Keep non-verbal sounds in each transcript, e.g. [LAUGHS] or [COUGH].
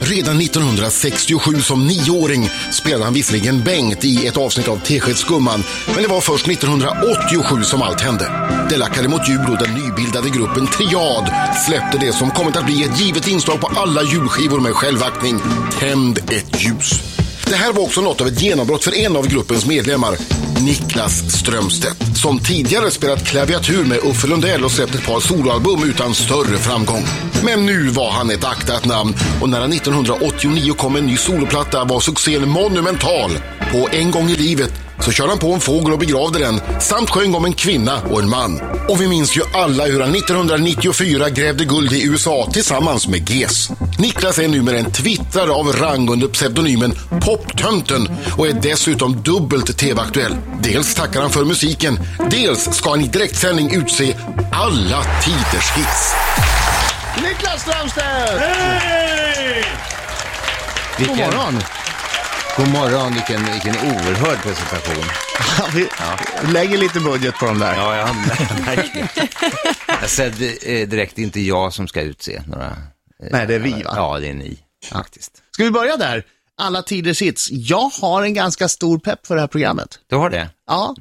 Redan 1967 som nioåring spelade han visserligen Bengt i ett avsnitt av Teskedsgumman, men det var först 1987 som allt hände. Det lackade mot jul och den nybildade gruppen Triad släppte det som kommit att bli ett givet inslag på alla julskivor med självaktning, Tänd ett ljus. Det här var också något av ett genombrott för en av gruppens medlemmar, Niklas Strömstedt, som tidigare spelat klaviatur med Uffe Lundell och släppt ett par soloalbum utan större framgång. Men nu var han ett aktat namn och när han 1989 kom med en ny soloplatta var succén monumental. På En gång i livet så körde han på en fågel och begravde den samt sjöng om en kvinna och en man. Och vi minns ju alla hur han 1994 grävde guld i USA tillsammans med GES. Niklas är numera en twittrare av rang under pseudonymen Poptönten och är dessutom dubbelt TV-aktuell. Dels tackar han för musiken, dels ska han i direktsändning utse alla tiders hits. Niklas Strömstedt! Vilken, God morgon! God morgon, vilken, vilken oerhörd presentation. Vi lägger lite budget på dem där. Ja, ja, [LAUGHS] verkligen. Jag säger eh, direkt, det är inte jag som ska utse några. eh, Nej, det är vi, va? Ja, det är ni faktiskt. Ska vi börja där? Alla tiders hits. Jag har en ganska stor pepp för det här programmet. Du har det? Ja,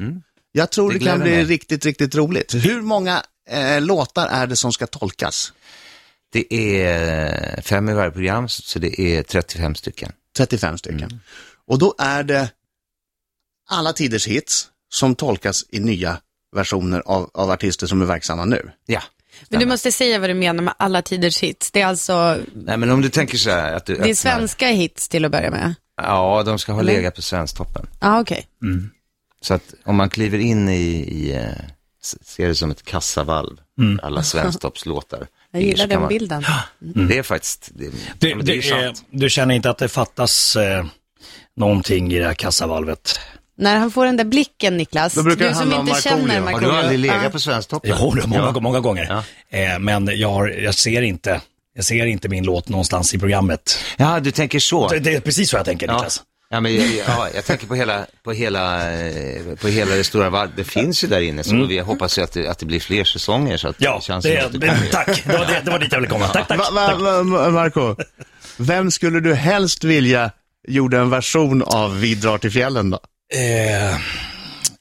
jag tror Det det, kan gläder bli mig. riktigt, riktigt roligt. Hur många eh, låtar är det som ska tolkas? Det är fem i varje program, så så det är 35 stycken. 35 stycken. Och då är det alla tiders hits som tolkas i nya versioner av, av artister som är verksamma nu. Ja. Men du måste säga vad du menar med alla tiders hits. Det är alltså, Nej, men om du tänker så här att du det är svenska hits till att börja med. Ja, de ska ha Eller? legat på Svensktoppen. Ja, okej. Så att om man kliver in i, i eh, s- ser det som ett kassavalv, alla Svensktoppslåtar. Jag gillar Mm, Så kan den man- bilden. Det är faktiskt, det, Mm. Det, ja, men det ju är, du känner inte att det fattas eh, någonting i det här kassavalvet? När han får den där blicken, Niklas, Då brukar det du som handla om inte Markoolio. känner Har du Markoolio. aldrig Ja. legat på Svensktoppen? Jo, det är många, Ja. många gånger. Eh, men jag, har, jag, ser inte, jag ser inte min låt någonstans i programmet. Ja, du tänker så. Det, det är precis så jag tänker, Ja. Niklas. Ja, men, jag- ja, jag tänker på hela, på hela, eh, på hela det stora varvet. Det finns ju där inne, så vi hoppas ju att det, att det blir fler säsonger. Så att Mm. Ja, känns det, som att det, kommer. [LAUGHS] tack. Det var, det, det var dit jag ville komma. Tack, tack. Va, va, tack. va, Ma- Marco, vem skulle du helst vilja gjorde en version av Vi drar till fjällen då? Eh,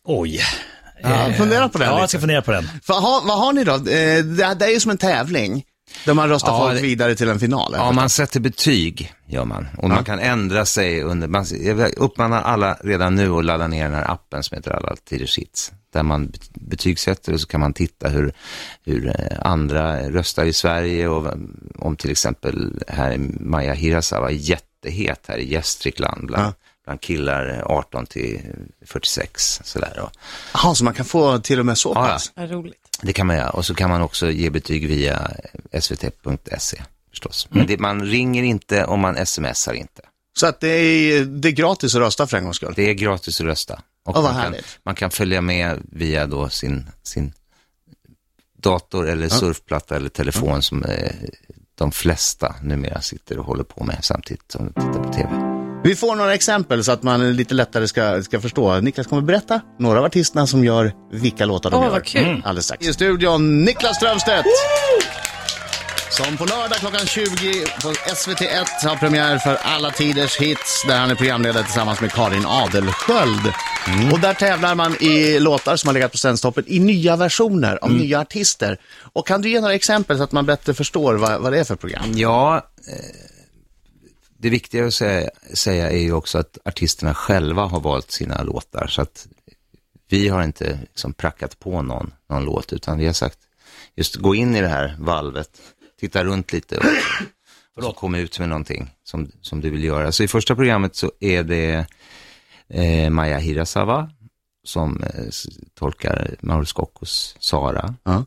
oj. Eh, Ja, fundera på den Ja, jag lite. ska fundera på den. Vad har, vad har ni då? Eh, Det, det är ju som en tävling, där man röstar Ja, folk det- vidare till en final. Ja, man sätter betyg, gör man. Och man kan ändra sig under, man, jag uppmanar alla redan nu att ladda ner den här appen som heter Alla Tiders Hits. Där man bet- betygsätter och så kan man titta hur, hur eh, andra röstar i Sverige och vem- om till exempel här är Maja Hirasawa är jättehet här i Gästrikland bland, bland killar eh, 18 till 46 sådär. Och, Jaha, så man kan få till och med så ja. pass? Vad roligt. det kan man göra. Och så kan man också ge betyg via svt.se förstås. Men det, man ringer inte och man smsar inte. Så att det är, det är gratis att rösta för en gångs skull? Det är gratis att rösta. Och Åh, vad man, kan, härligt. man kan följa med via då sin, sin dator eller surfplatta eller telefon som eh, de flesta numera sitter och håller på med samtidigt som de tittar på tv. Vi får några exempel så att man lite lättare ska, ska förstå. Niklas kommer berätta några av artisterna som gör vilka låtar de Åh, gör. vad kul. Mm. Alldeles strax. I studion, Niklas Strömstedt! Som på lördag klockan 20 på SVT1 har premiär för Alla Tiders Hits där han är programledare tillsammans med Karin Adelsköld. Och där tävlar man i låtar som har legat på sändstoppet i nya versioner av nya artister. Och kan du ge några exempel så att man bättre förstår vad, vad det är för program? Ja, eh, det viktiga att säga, säga är ju också att artisterna själva har valt sina låtar. Så att vi har inte liksom prackat på någon, någon låt, utan vi har sagt just gå in i det här valvet, titta runt [COUGHS] lite och, och så kom ut med någonting som, som du vill göra. Så i första programmet så är det eh, Maja Hirasawa som eh, s- tolkar Mauro Scoccos Sara. Ja.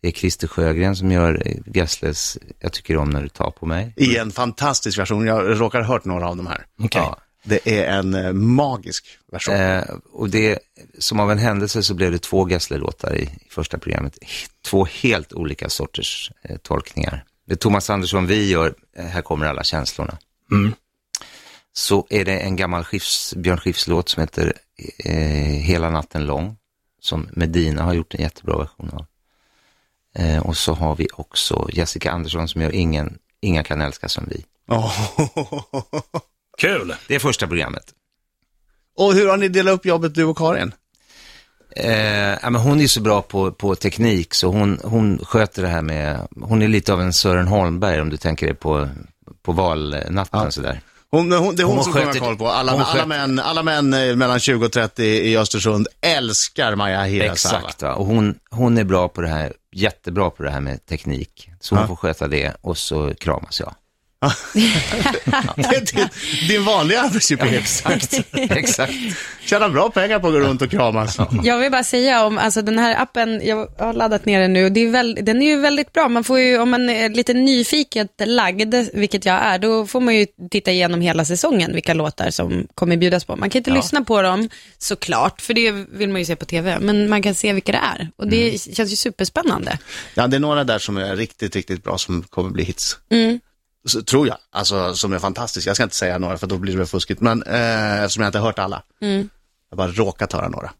Det är Christer Sjögren som gör eh, Gessles Jag tycker om när du tar på mig. I en fantastisk version, jag råkar ha hört några av de här. Okej. Ja. Det är en eh, magisk version. Eh, och det, som av en händelse så blev det två Gessle-låtar i, i första programmet. H- Två helt olika sorters eh, tolkningar. Det Thomas Andersson vi gör, eh, Här kommer alla känslorna. Så är det en gammal Schiffs, Björn Skifs-låt som heter eh, Hela natten lång, som Medina har gjort en jättebra version av. Eh, och så har vi också Jessica Andersson som gör Ingen, Ingen kan älska som vi. Kul! Det är första programmet. [LAUGHS] Och hur har ni delat upp jobbet, du och Karin? Eh, ja, men hon är ju så bra på, på teknik så hon, hon sköter det här med, hon är lite av en Sören Holmberg om du tänker dig på, på valnatten sådär. Hon, hon, det är hon, Hon som kommer ha sköter- koll på. Alla, hon alla sköter- män, alla män eh, mellan 20 och 30 i Östersund älskar Maja Hirasawa. Exakt, va? och hon, hon är bra på det här, jättebra på det här med teknik. Så hon får sköta det och så kramas jag. [LAUGHS] Det är din, din vanliga arbetsuppgift. Exakt. Exakt. Tjäna bra pengar på att gå runt och kramas. Jag vill bara säga om alltså den här appen, jag har laddat ner den nu, och det är väl, den är ju väldigt bra. Man får ju, om man är lite nyfiket lagd, vilket jag är, då får man ju titta igenom hela säsongen vilka låtar som kommer bjudas på. Man kan inte lyssna på dem såklart, för det vill man ju se på tv, men man kan se vilka det är. Och det Mm. känns ju superspännande. Ja, det är några där som är riktigt, riktigt bra som kommer bli hits. Så, tror jag, alltså som är fantastiska. Jag ska inte säga några för då blir det väl fuskigt, men eh, eftersom jag inte har hört alla. Jag har bara råkat höra några.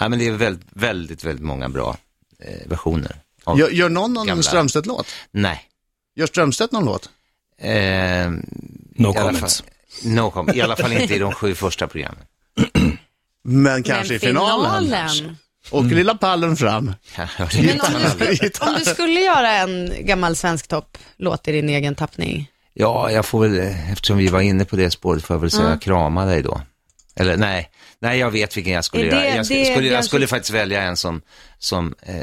Ja, men det är väldigt, väldigt, väldigt många bra eh, versioner. Av... Gör, gör någon någon Gamla. Strömstedt-låt? Nej. Gör Strömstedt någon låt? Eh, No i, alla fall, comments. no com- I alla fall inte i de sju första programmen. Men kanske i finalen. finalen. Och lilla pallen fram. Men om du, skulle, om du skulle göra en gammal svensk topplåt i din egen tappning, Ja, jag får väl, eh, eftersom vi var inne på det spåret, får jag väl säga krama dig då. Eller nej, nej jag vet vilken jag skulle Är det- göra. Jag, sk- det- skulle, det är jag alltså- skulle faktiskt välja en som, som, eh,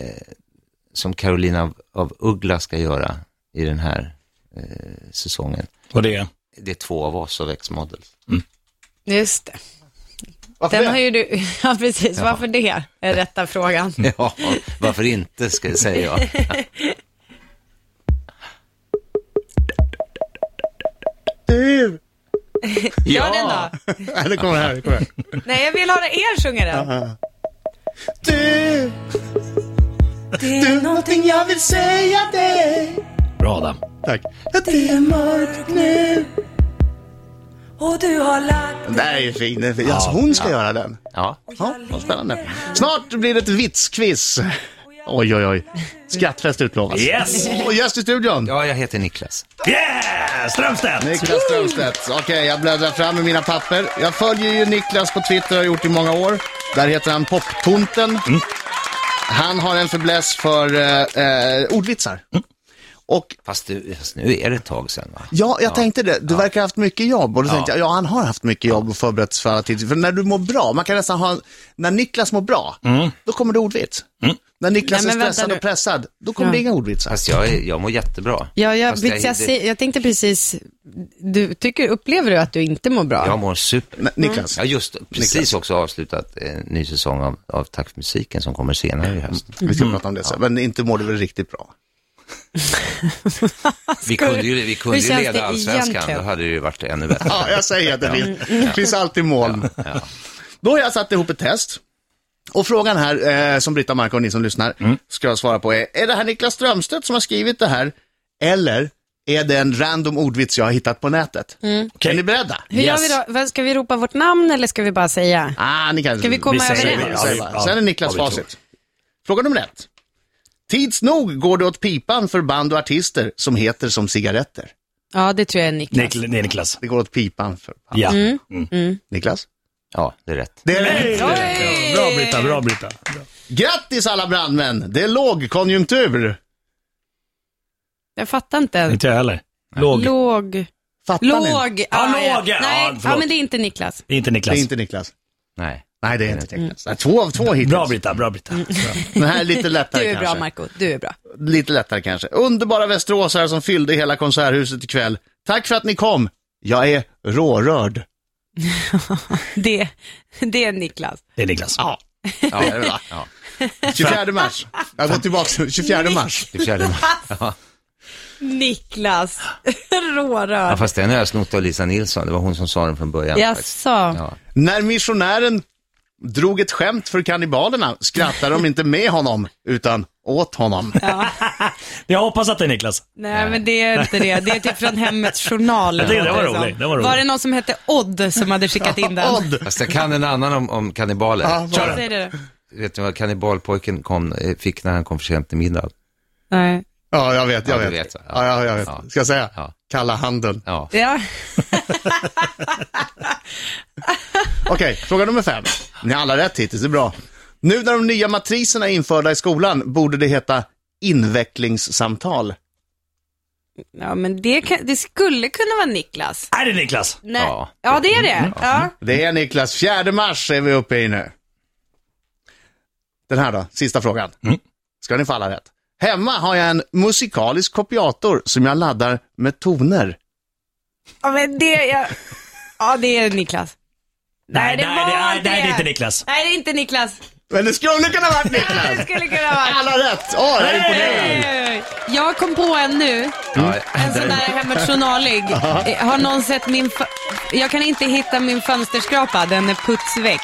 som Carolina av, av Uggla ska göra i den här eh, säsongen. Och det är Det är två av oss av X-Models. just det. Varför Den det? har ju du, [LAUGHS] ja precis, varför det? Är rätta [LAUGHS] frågan. [LAUGHS] Ja, varför inte, ska jag [LAUGHS] säga jag. Du! Gör den då. Nej, det kommer här. Det kommer här. Nej, jag vill höra er sjunga den. Du! Det är någonting jag vill säga dig bra Adam. Tack. Det är mörkt nu Och du har lagt Den där är ju fin. Den är fin. Alltså, hon ska göra den. Ja, Ja, vad spännande. Snart blir det ett vitsquiz. Oj, oj, oj. Skrattfest utlovas. Yes! Och gäst i studion. ja jag heter Niklas. Yeah! Strömstedt! Niklas Strömstedt. Okej, jag bläddrar fram i mina papper. Jag följer ju Niklas på Twitter och har gjort i många år. Där heter han Poptomten. Han har en fäbless för eh, eh, ordvitsar. Och Fast, du, fast nu är det ett tag sedan va? Ja, jag tänkte det. Du verkar ha haft mycket jobb. Och då tänkte jag, ja han har haft mycket jobb och förberett sig för alla tider. För när du mår bra, man kan nästan ha, när Niklas mår bra, då kommer det ordvits. När Niklas Nej, men är vänta stressad nu. och pressad, då kommer Ja. det inga ordvitsar. Fast jag, är- jag mår jättebra. Ja, jag, Fast jag, det- jag, jag tänkte precis, du, tycker, upplever du att du inte mår bra? Jag mår super. N- Niklas, Jag har just precis också avslutat en ny säsong av, av Tack för musiken som kommer senare i höst. vi ska prata om det Mm. sen. Men inte mår du väl riktigt bra? Vi kunde ju, vi kunde Hur ju känns leda det allsvenskan, egentligen? då hade det ju varit ännu bättre. Ja, jag säger att det finns. Det finns alltid moln. Då har jag satt ihop ett test. Och frågan här, eh, som Britta, Marko och ni som lyssnar, Mm. ska jag svara på är, är det här Niklas Strömstedt som har skrivit det här? Eller är det en random ordvits jag har hittat på nätet? Mm. Är ni beredda? Hur gör vi då? Vad- Ska vi ropa vårt namn eller ska vi bara säga? Ah, ni kan... Ska vi komma Vi säger överens? det. Vi Ja, säger vi- bara. ja, Sen är Niklas ja, vi facit. Fråga nummer ett. Tids nog går det åt pipan för band och artister som heter som cigaretter. Ja, det tror jag är Niklas. Nik- nej, Niklas. Det går åt pipan för band. Ja. Niklas? Ja, det är rätt. Det är rätt. Oj! Bra Britta, bra Britta. Grattis alla brandmän! Det är lågkonjunktur. Jag fattar inte. Inte jag heller. Låg. Låg. Fattar Låg. Ah, ni? Ja, ja. låg, ja. Ja, Nej, förlåt. ja, men det är inte Niklas. Det är inte Det Niklas. är inte Niklas. Nej. Nej, det är inte Mm. Niklas. Mm. Nej, Två av två hittills. Bra Britta, bra Britta. Den här är lite lättare [LAUGHS] Du är bra kanske. Marco, du är bra. lite lättare kanske. Underbara västeråsare som fyllde hela konserthuset ikväll. Tack för att ni kom. Jag är [LAUGHS] rårörd. Det, det är Niklas. Det är Niklas. Ja, Ja, det är det, va? Ja. 24 mars. Jag går tillbaka till 24 mars. Det är fjärde maj. Niklas. [LAUGHS] Ja, Rårörd. fast den har jag snott av Lisa Nilsson. Det var hon som sa den från början. faktiskt. Jaså? Ja. När missionären drog ett skämt för kannibalerna skrattade de inte med honom, utan åt honom. Jag hoppas att det är Niklas. Nej, men det är inte det. Det är typ från Hemmets Journal. Jag tycker det var låter som. roligt, det var roligt. var det någon som hette Odd som hade skickat in [LAUGHS] den? Odd. Fast jag kan en annan om, om kannibaler. Vad säger du? Vet ni vad kannibalpojken kom, eh, fick när han kom för sent till middag? Nej. Ja, jag vet, jag Ja, du vet. vet så. Ja, Ja. ja, jag vet. Ja. Ska jag säga? Ja. Kalla handen. Ja. Ja. Okej, fråga nummer fem. Ni har alla rätt hittills, det är bra. Nu när de nya matriserna är införda i skolan borde det heta invecklingssamtal. ja, men det, kan, det skulle kunna vara Niklas. Är det Niklas? Nej. Ja. Ja. det är Mm. det. Ja. Det är Niklas, 4 mars är vi uppe i nu. Den här då, sista frågan. Mm. Ska ni få alla rätt? Hemma har jag en musikalisk kopiator som jag laddar med toner. ja, men det är... Ja, det är Niklas. Nej, det var är, inte nej, det är det. inte Niklas. Nej, det är inte Niklas. Men det skulle kunna varit Niklas! Det skulle kunna vara... Alla rätt! Åh, det här är imponerande! Jag kom på en nu, Ja, en sån där där- Hemmet Journalig. Eh, Har någon sett min... fa- Jag kan inte hitta min fönsterskrapa, den är putsväck.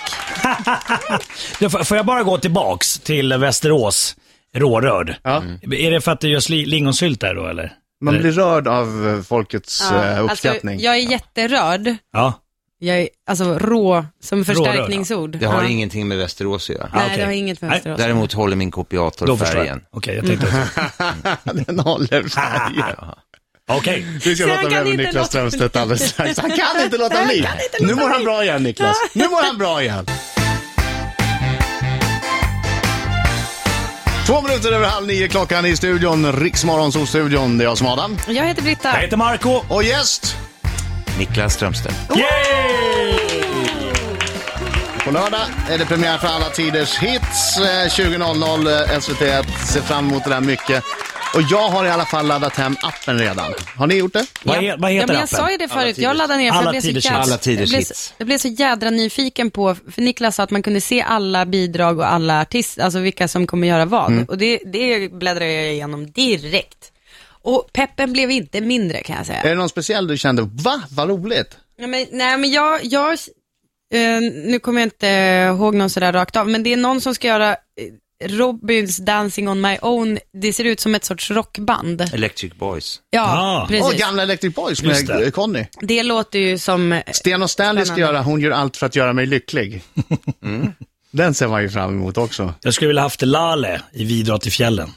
Du, får- får jag bara gå tillbaks till Västerås rårörd? Mm. Ja. Är det för att det görs li- lingonsylt där då eller? Man Eller- blir rörd av eh, folkets Ja, eh, alltså, uppskattning. jag är jätterörd. Ja. Jag är alltså rå som förstärkningsord. Det har Ja. ingenting med Västerås att göra. Nej, okej. det har inget med Nej, Västerås. Däremot håller min kopiator Då förstår jag. färgen. Okej, jag tänkte [LAUGHS] [LAUGHS] att... Den håller färgen. Okej. Vi ska Så prata han mer kan med inte Niklas låta Strömstedt alldeles strax. Han kan inte låta bli. Nu mår han bra igen Niklas. Nu mår han bra igen. Två minuter över halv nio klockan i studion, Riksmorgonsolstudion. Det är jag som är Adam. Jag heter Britta. Jag heter Marco. Och gäst, Niklas Strömstedt. Yay! på lördag är det premiär för Alla Tiders Hits. eh, 20.00 eh, SVT1. Ser fram emot det där mycket. Och jag har i alla fall laddat hem appen redan. Har ni gjort det? Vad, he- vad heter ja, men jag appen? sa ju det förut, jag laddade ner för Alla jag blev, tiders så jädra, hits. Alla tiders jag, blev så, hits. jag blev så jädra nyfiken på, för Niklas sa att man kunde se alla bidrag och alla artister, alltså vilka som kommer göra vad. Mm. Och det, det bläddrade jag igenom direkt. Och peppen blev inte mindre kan jag säga. Är det någon speciell du kände, va, vad roligt? Nej men, nej, men jag, jag eh, nu kommer jag inte ihåg någon sådär rakt av, men det är någon som ska göra eh, Robins Dancing on my own, det ser ut som ett sorts rockband. Electric Boys. Ja, Ah. precis. Åh, gamla Electric Boys Just med det. eh, Conny. Det låter ju som, eh, Sten och Stanley ska Spännande. göra Hon gör allt för att göra mig lycklig. Den ser man ju fram emot också. Jag skulle vilja haft Lale i Vi drar till fjällen.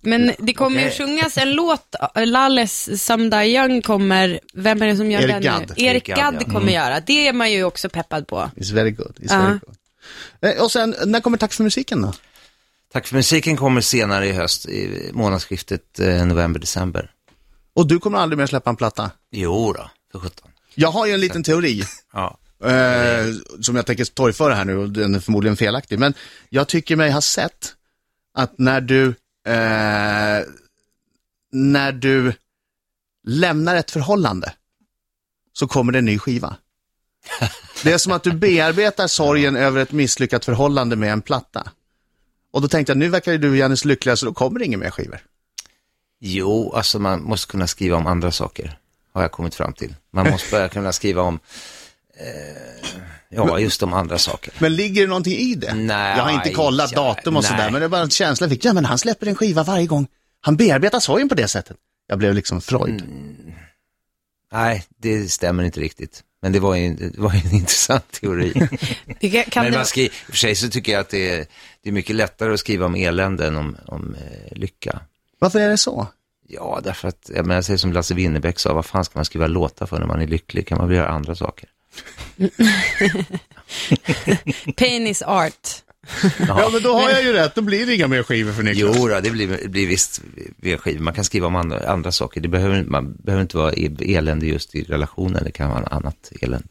men det kommer ju Okej. sjungas en låt, eh, Lalles Someday Young kommer, vem är det som gör Eric den? Gadd. Erik Eric Gadd, Gadd ja. kommer göra, det är man ju också peppad på. It's very good. It's Ja. very good. Eh, Och sen, när kommer Tack för musiken då? Tack för musiken kommer senare i höst, i månadsskiftet eh, november-december. Och du kommer aldrig mer släppa en platta? Jo då, för sjutton. Jag har ju en liten teori, Ja. eh, som jag tänker torgföra här nu, och den är förmodligen felaktig. Men jag tycker mig ha sett att när du, eh, när du lämnar ett förhållande, så kommer det en ny skiva. Det är som att du bearbetar sorgen över ett misslyckat förhållande med en platta. Och då tänkte jag, nu verkar ju du och Janis lyckliga, så då kommer det inga mer skivor. Jo, alltså man måste kunna skriva om andra saker, har jag kommit fram till. Man måste börja kunna skriva om, eh, ja, just om andra saker. Men ligger det någonting i det? Nej, jag har inte kollat ja, datum och nej. sådär, men det är bara en känsla jag fick. Ja, men han släpper en skiva varje gång. Han bearbetar sorgen på det sättet. Jag blev liksom Freud. Mm. Nej, det stämmer inte riktigt. Men det var ju, en- det var ju en [LAUGHS] intressant teori. Det kan- kan Men det- man skri- i och för sig så tycker jag att det är, det är mycket lättare att skriva om elände än om, om eh, lycka. Varför är det så? Ja, därför att, jag menar, jag säger som Lasse Winnerbäck sa, vad fan ska man skriva låtar för när man är lycklig? Kan man väl göra andra saker? Pain is art. Ja, men då har jag ju rätt. Då blir det inga mer skivor för Jo, Niklas. då, det blir, det blir visst V-skiv. Man kan skriva om andra, andra saker. Det behöver, man behöver inte vara e- elände just i relationen, det kan vara annat elände.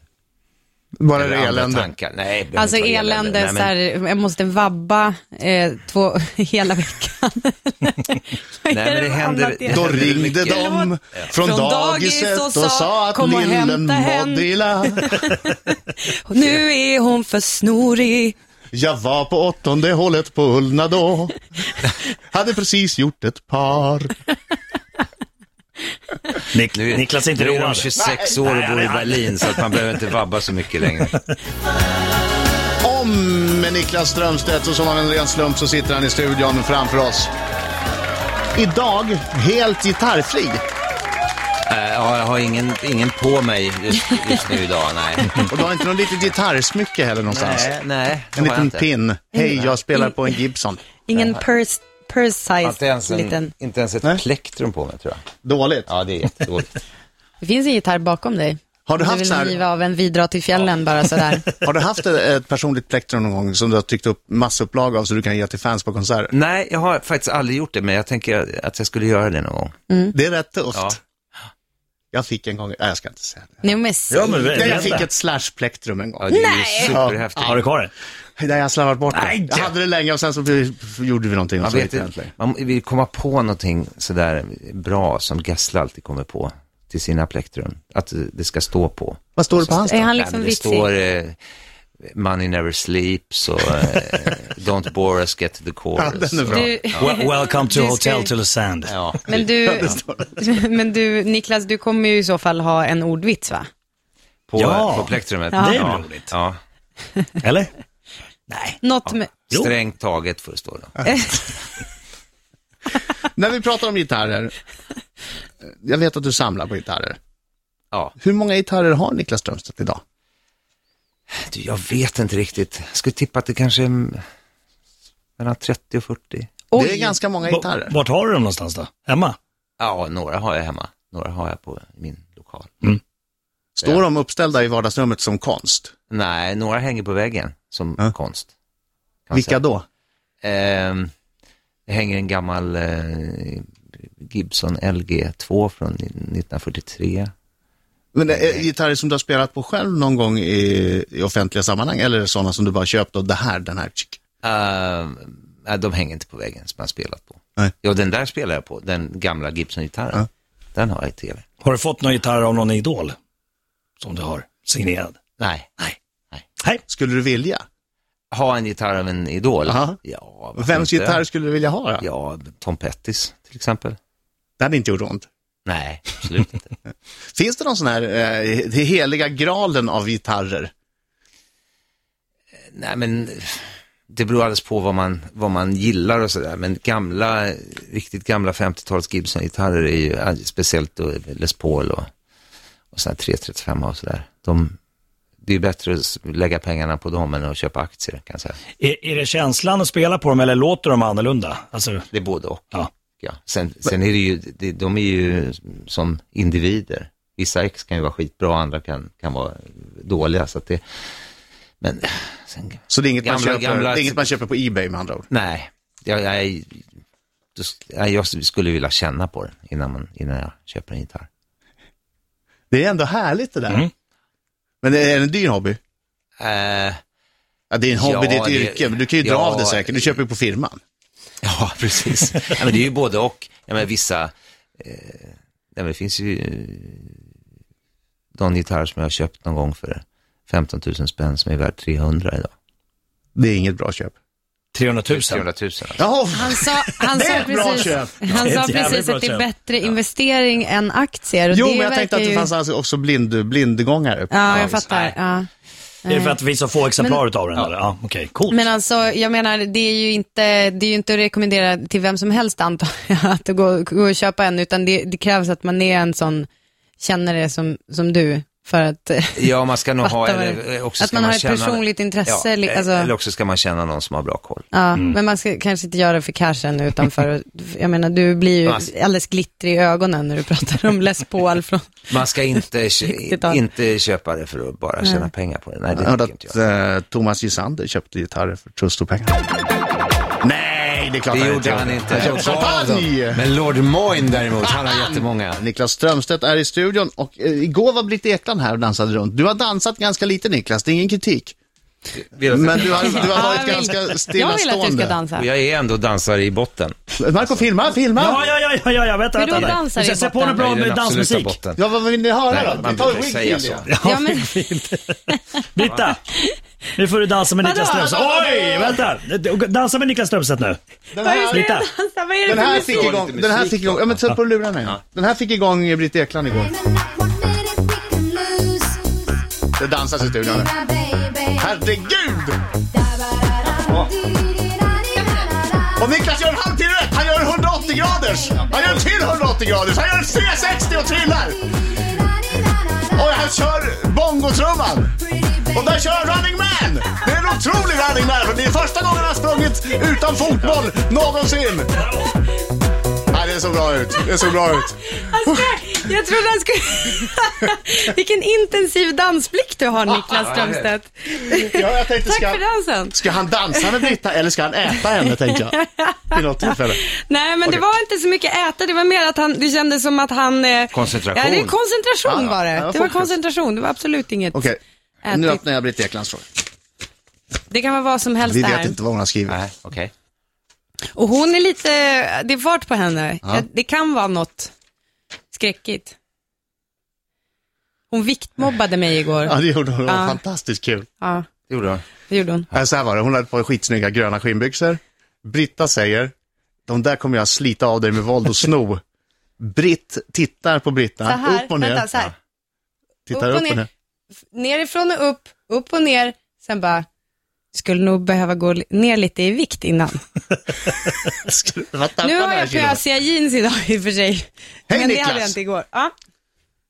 bara det Eller andra elände. Tankar. Nej, det behöver Alltså inte vara elände, Nej, men- så här, jag måste vabba eh, två, [LAUGHS] hela veckan. Nej, men det [LAUGHS] händer- det Då händer ringde mycket. de från Från dagis dagiset och och sa, sa att "Kom och lillen hämta henne." mådde illa. Nu är hon för snorig. Jag var på åttonde hålet på Ullna [LAUGHS] då. Hade precis gjort ett par. Nik- Nu, Niklas är inte nu är de road. 26 år och bor i Berlin, så att man behöver inte vabba så [LAUGHS] mycket längre. Om med Niklas Strömstedt och som av en ren slump så sitter han i studion framför oss. Idag helt gitarrfri. Eh, Ja, jag har ingen, ingen på mig just, just nu idag, [LAUGHS] nej. Och du har inte något litet gitarrsmycke heller någonstans. nej, nej det En har liten jag inte. pin. Hej, jag spelar på en Gibson. Ingen pers, Inte ens, precise en, liten. inte ens ett Nej. plektrum på mig tror jag. Dåligt. Ja, det är jättedåligt. Det finns en gitarr bakom dig. Har du haft vill så här- riva av en vidra till fjällen bara [LAUGHS] sådär. Har du haft ett, ett personligt plektrum någon gång som du har tryckt upp massupplaga av så du kan ge till fans på konserter? [LAUGHS] Nej, jag har faktiskt aldrig gjort det, men jag tänker att jag skulle göra det någon gång. Det är rätt tufft. Mm. Ja. Jag fick en gång, nej jag ska inte säga det. Nej, men se. Ja, men Nej, berätta. jag fick ett slash-plektrum en gång. Ja, det är ju superhäftigt. Har du kvar det? Nej, jag har slarvat bort det. Nej. Jag hade det länge och sen så blev- gjorde vi någonting och Man, så gick vet, det äntligen. inte- man vill komma på någonting sådär bra som Gessle alltid kommer på till sina plektrum. Att det ska stå på. Vad står det på hans Är då? han Nej, men liksom det vitsig? står eh, Money Never Sleeps och [LAUGHS] eh, Don't Bore Us Get to the Chorus. Ja, den är bra. Du, Well, welcome to Du ska- Hotel to the Sand. Ja, men, du, [LAUGHS] men du, Niklas, du kommer ju i så fall ha en ordvits va? på, Ja. på plektrumet. Ja. Det är ja. roligt. ja. Eller? [LAUGHS] Något med... Jo. Strängt taget får det stå då. När vi pratar om gitarrer, jag vet att du samlar på gitarrer. Ja. Hur många gitarrer har Niklas Strömstedt idag? Du, jag vet inte riktigt. Jag skulle tippa att det kanske är mm, mellan 30 och 40. Oj. Det är ganska många Va- gitarrer. Vart har du dem någonstans då? Hemma? Ja, några har jag hemma. Några har jag på min lokal. Står de uppställda i vardagsrummet som konst? Nej, några hänger på väggen som Ja. konst. kan man Vilka säga. då? Ehm, det hänger en gammal eh, Gibson LG2 från 1943. Men är det gitarrer som du har spelat på själv någon gång i, i offentliga sammanhang eller är det sådana som du bara köpt och det här, den här, tsk. Ehm, nej, de hänger inte på väggen som jag har spelat på. Nej. Ja, den där spelar jag på, den gamla Gibson-gitarren. Ja. Den har jag i tv. Har du fått någon gitarr av någon idol? Som du har signerad? Nej. Nej. skulle du vilja? Ha en gitarr av en idol? Aha. Ja, varför Vems inte? gitarr skulle du vilja ha då? Ja, Tom Pettis till exempel. Det hade inte gjort ont. Nej, [LAUGHS] absolut inte. Finns det någon sån här, eh, det heliga graalen av gitarrer? Nej, men det beror alldeles på vad man, vad man gillar och sådär. Men gamla, riktigt gamla 50-tals Gibson-gitarrer är ju, eh, speciellt då Les Paul och, och sådana 335 och sådär. De, det är ju bättre att s- lägga pengarna på dem än att köpa aktier kan jag säga. Är, är det känslan att spela på dem eller låter de annorlunda? Alltså, Det är både och. Ja. Ja. Sen, sen är det ju, det, de är ju som individer. Vissa ex kan ju vara skitbra, andra kan, kan vara dåliga. Så att det, men sen, Så det är, inget man Gamla- köper, gamla- det är inget man köper på Ebay med andra ord. nej, jag, jag, då sk- nej, jag skulle vilja känna på den innan, man, innan jag köper en gitarr. Det är ändå härligt det där. Mm. Men är det en dyr hobby? Eh, Ja, det är en hobby, Ja, det är ett det- yrke, men du kan ju dra ja, av det säkert. Du köper ju på firman. [LAUGHS] ja, precis. nej, men det är ju både och. Ja, men vissa, eh, nej, men det finns ju någon gitarr som jag har köpt någon gång för 15 000 spänn som är värd 300 idag. Det är inget bra köp. 300 000? 300 000 alltså. Jaha, Han sa, [LAUGHS] han Det sa är ett bra precis, köp. Det han är sa ett jävligt precis bra att det är köp. bättre investering än aktier. Och jo det men jag tänkte verkar att det ju- fanns alltså också blind, blindgångare. Ja, jag fattar. Ja. Är det för att det finns så få exemplar utav den? eller? Ja, okej, coolt. Men alltså, jag menar, det är ju inte, det är ju inte att rekommendera till vem som helst antar jag, att gå, gå och köpa en, utan det, det krävs att man är en sån, känner det som, som du, för att [LAUGHS] eh, Ja, man ska nog ha, Fattar vad eller, det- eh, också att ska man har ett känna, personligt intresse, li- eh, alltså. Eller också ska man känna någon som har bra koll. Ja, Mm. men man ska kanske inte göra det för cashen utan för, jag menar du blir ju Alltså- alldeles glittrig i ögonen när du pratar om Les [LAUGHS] Paul från, Man ska [LAUGHS] inte, kö- tal. inte köpa det för att bara tjäna pengar på det. Nej, det Jag hörde tycker inte att jag. eh, Thomas Gisander köpte gitarrer för trust och pengar. Nej, det är klart Det gjorde gör. han inte. Alltså, Han köpte champagne! Men Lord Moyne däremot, han har jättemånga. Niklas Strömstedt är i studion och eh, igår var Britt Ekland här och dansade runt. Du har dansat ganska lite Niklas, det är ingen kritik. Men du har, [LAUGHS] du har Ja, jag varit vill- ganska jag vill att du ska stillastående. dansa. Och jag är ändå dansare i botten. Marco, filma, filma! Ja, ja, ja, ja, ja, ja, vänta, Hur då vänta. dansar i Sätt- Sätt på botten? Jag något bra är den med absoluta dansmusik. botten. Ja, vad vill ni höra Nej, då? man Vi tar behöver Wig säga Wig så. igen. Ja, [LAUGHS] men- Britta, nu får du dansa [LAUGHS] med Niklas Vadå? Strömstedt. Oj, vänta! Dansa med Niklas Strömstedt nu. Den här, Britta. Dansa, vad är det den för här musik? fick igång, den här fick igång, ja men sätt på lurarna igen. Den här fick igång Britt Ekland igår. Det dansas i studion. nu. Herregud! Och Niklas gör en halvtid rätt! Han gör en 180 graders! Han gör en till 180 graders! Han gör en 360 och trillar! Och han kör bongotrumman! Och där kör han Running Man! Det är en otrolig Karin Närmlund. Det är första gången han har sprungit utan fotboll någonsin. Nej, det såg bra ut. Det såg bra ut. Alltså, jag trodde han skulle... [LAUGHS] Vilken intensiv dansblick [LAUGHS] du har Niklas Strömstedt. Ja, jag tänkte, Tack ska, för dansen. ska han dansa med Britta eller ska han äta henne, tänkte jag. Vid något tillfälle. Nej, men det var inte så mycket äta, det var mer att han, det kändes som att han... eh, Koncentration. Ja, det är koncentration Ah, Ja, var ja, det. det var Det var fokus. koncentration, det var absolut inget. Okej, nu Ätit. öppnar jag Britt Eklands fråga. Det kan vara vad som helst Vi där. vet inte vad hon har skrivit. Nej, okej. Och hon är lite, det är fart på henne. Ja. Det kan vara något skräckigt. Hon viktmobbade mig igår. Ja, det gjorde hon. Det var Ja. fantastiskt kul. Ja, Det gjorde hon. det gjorde hon. Ja. Så här var det, hon hade på skitsnygga gröna skinnbyxor. Britta säger, de där kommer jag slita av dig med våld och sno. Britt tittar på Britta, Så här, upp och ner. vänta, så här. Tittar upp och ner. Nerifrån och upp, upp och ner. Sen bara, skulle nog behöva gå li- ner lite i vikt innan. Ska du- vad tappar Nu har den här jag kilon? pjösiga jeans idag i och för sig. Hej, Men det hade jag Niklas. inte igår. Ja.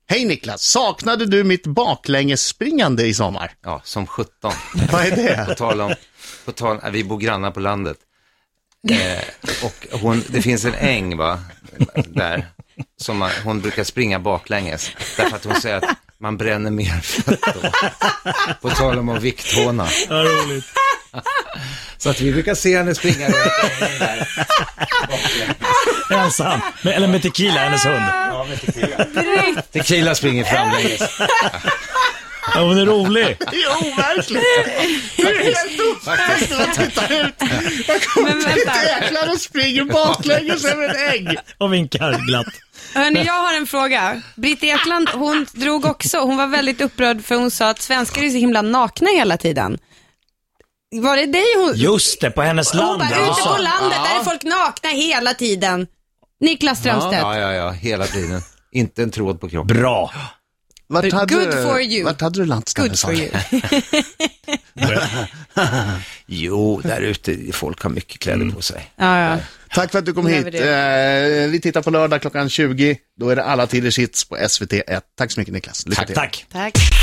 Hej Niklas, saknade du mitt baklängesspringande i sommar? Ja, som 17. Vad är På [LAUGHS] det? tal om, på tal, äh, vi bor grannar på landet. Eh, och hon, det finns en äng va, där, som man, hon brukar springa baklänges. Därför att hon säger att man bränner mer fett då. På tal om att vikthåna. Ja, roligt. Så att vi brukar se henne springa runt i ängen där. Ensam. Med, eller med tequila, hennes hund. Tequila springer framlänges. Ja, hon är rolig. Det är overkligt! Det är helt uppfäst när man tittar ut. Jag kommer Men till vänta. ett äcklar och springer baklänges över en ägg. Och vinkar glatt. Hörni, jag har en fråga. Britt Ekland, hon drog också, hon var väldigt upprörd för hon sa att svenskar är så himla nakna hela tiden. Var det dig hon... Just det, på hennes hon land. bara, ute på landet, där är folk nakna hela tiden. Niklas Strömstedt. Ja, ja, ja, hela tiden. Inte en tråd på kroppen. Bra. Vart hade, Good for you. Vart hade du landskampen? Good sa for du? you. Jo, där ute, folk har mycket kläder på sig. Ja, ja. Tack för att du kom Lever hit. Eh, vi tittar på lördag klockan 20. Då är det alla tiders hits på SVT1. Tack så mycket Niklas. Lycka Tack, tack. Tack.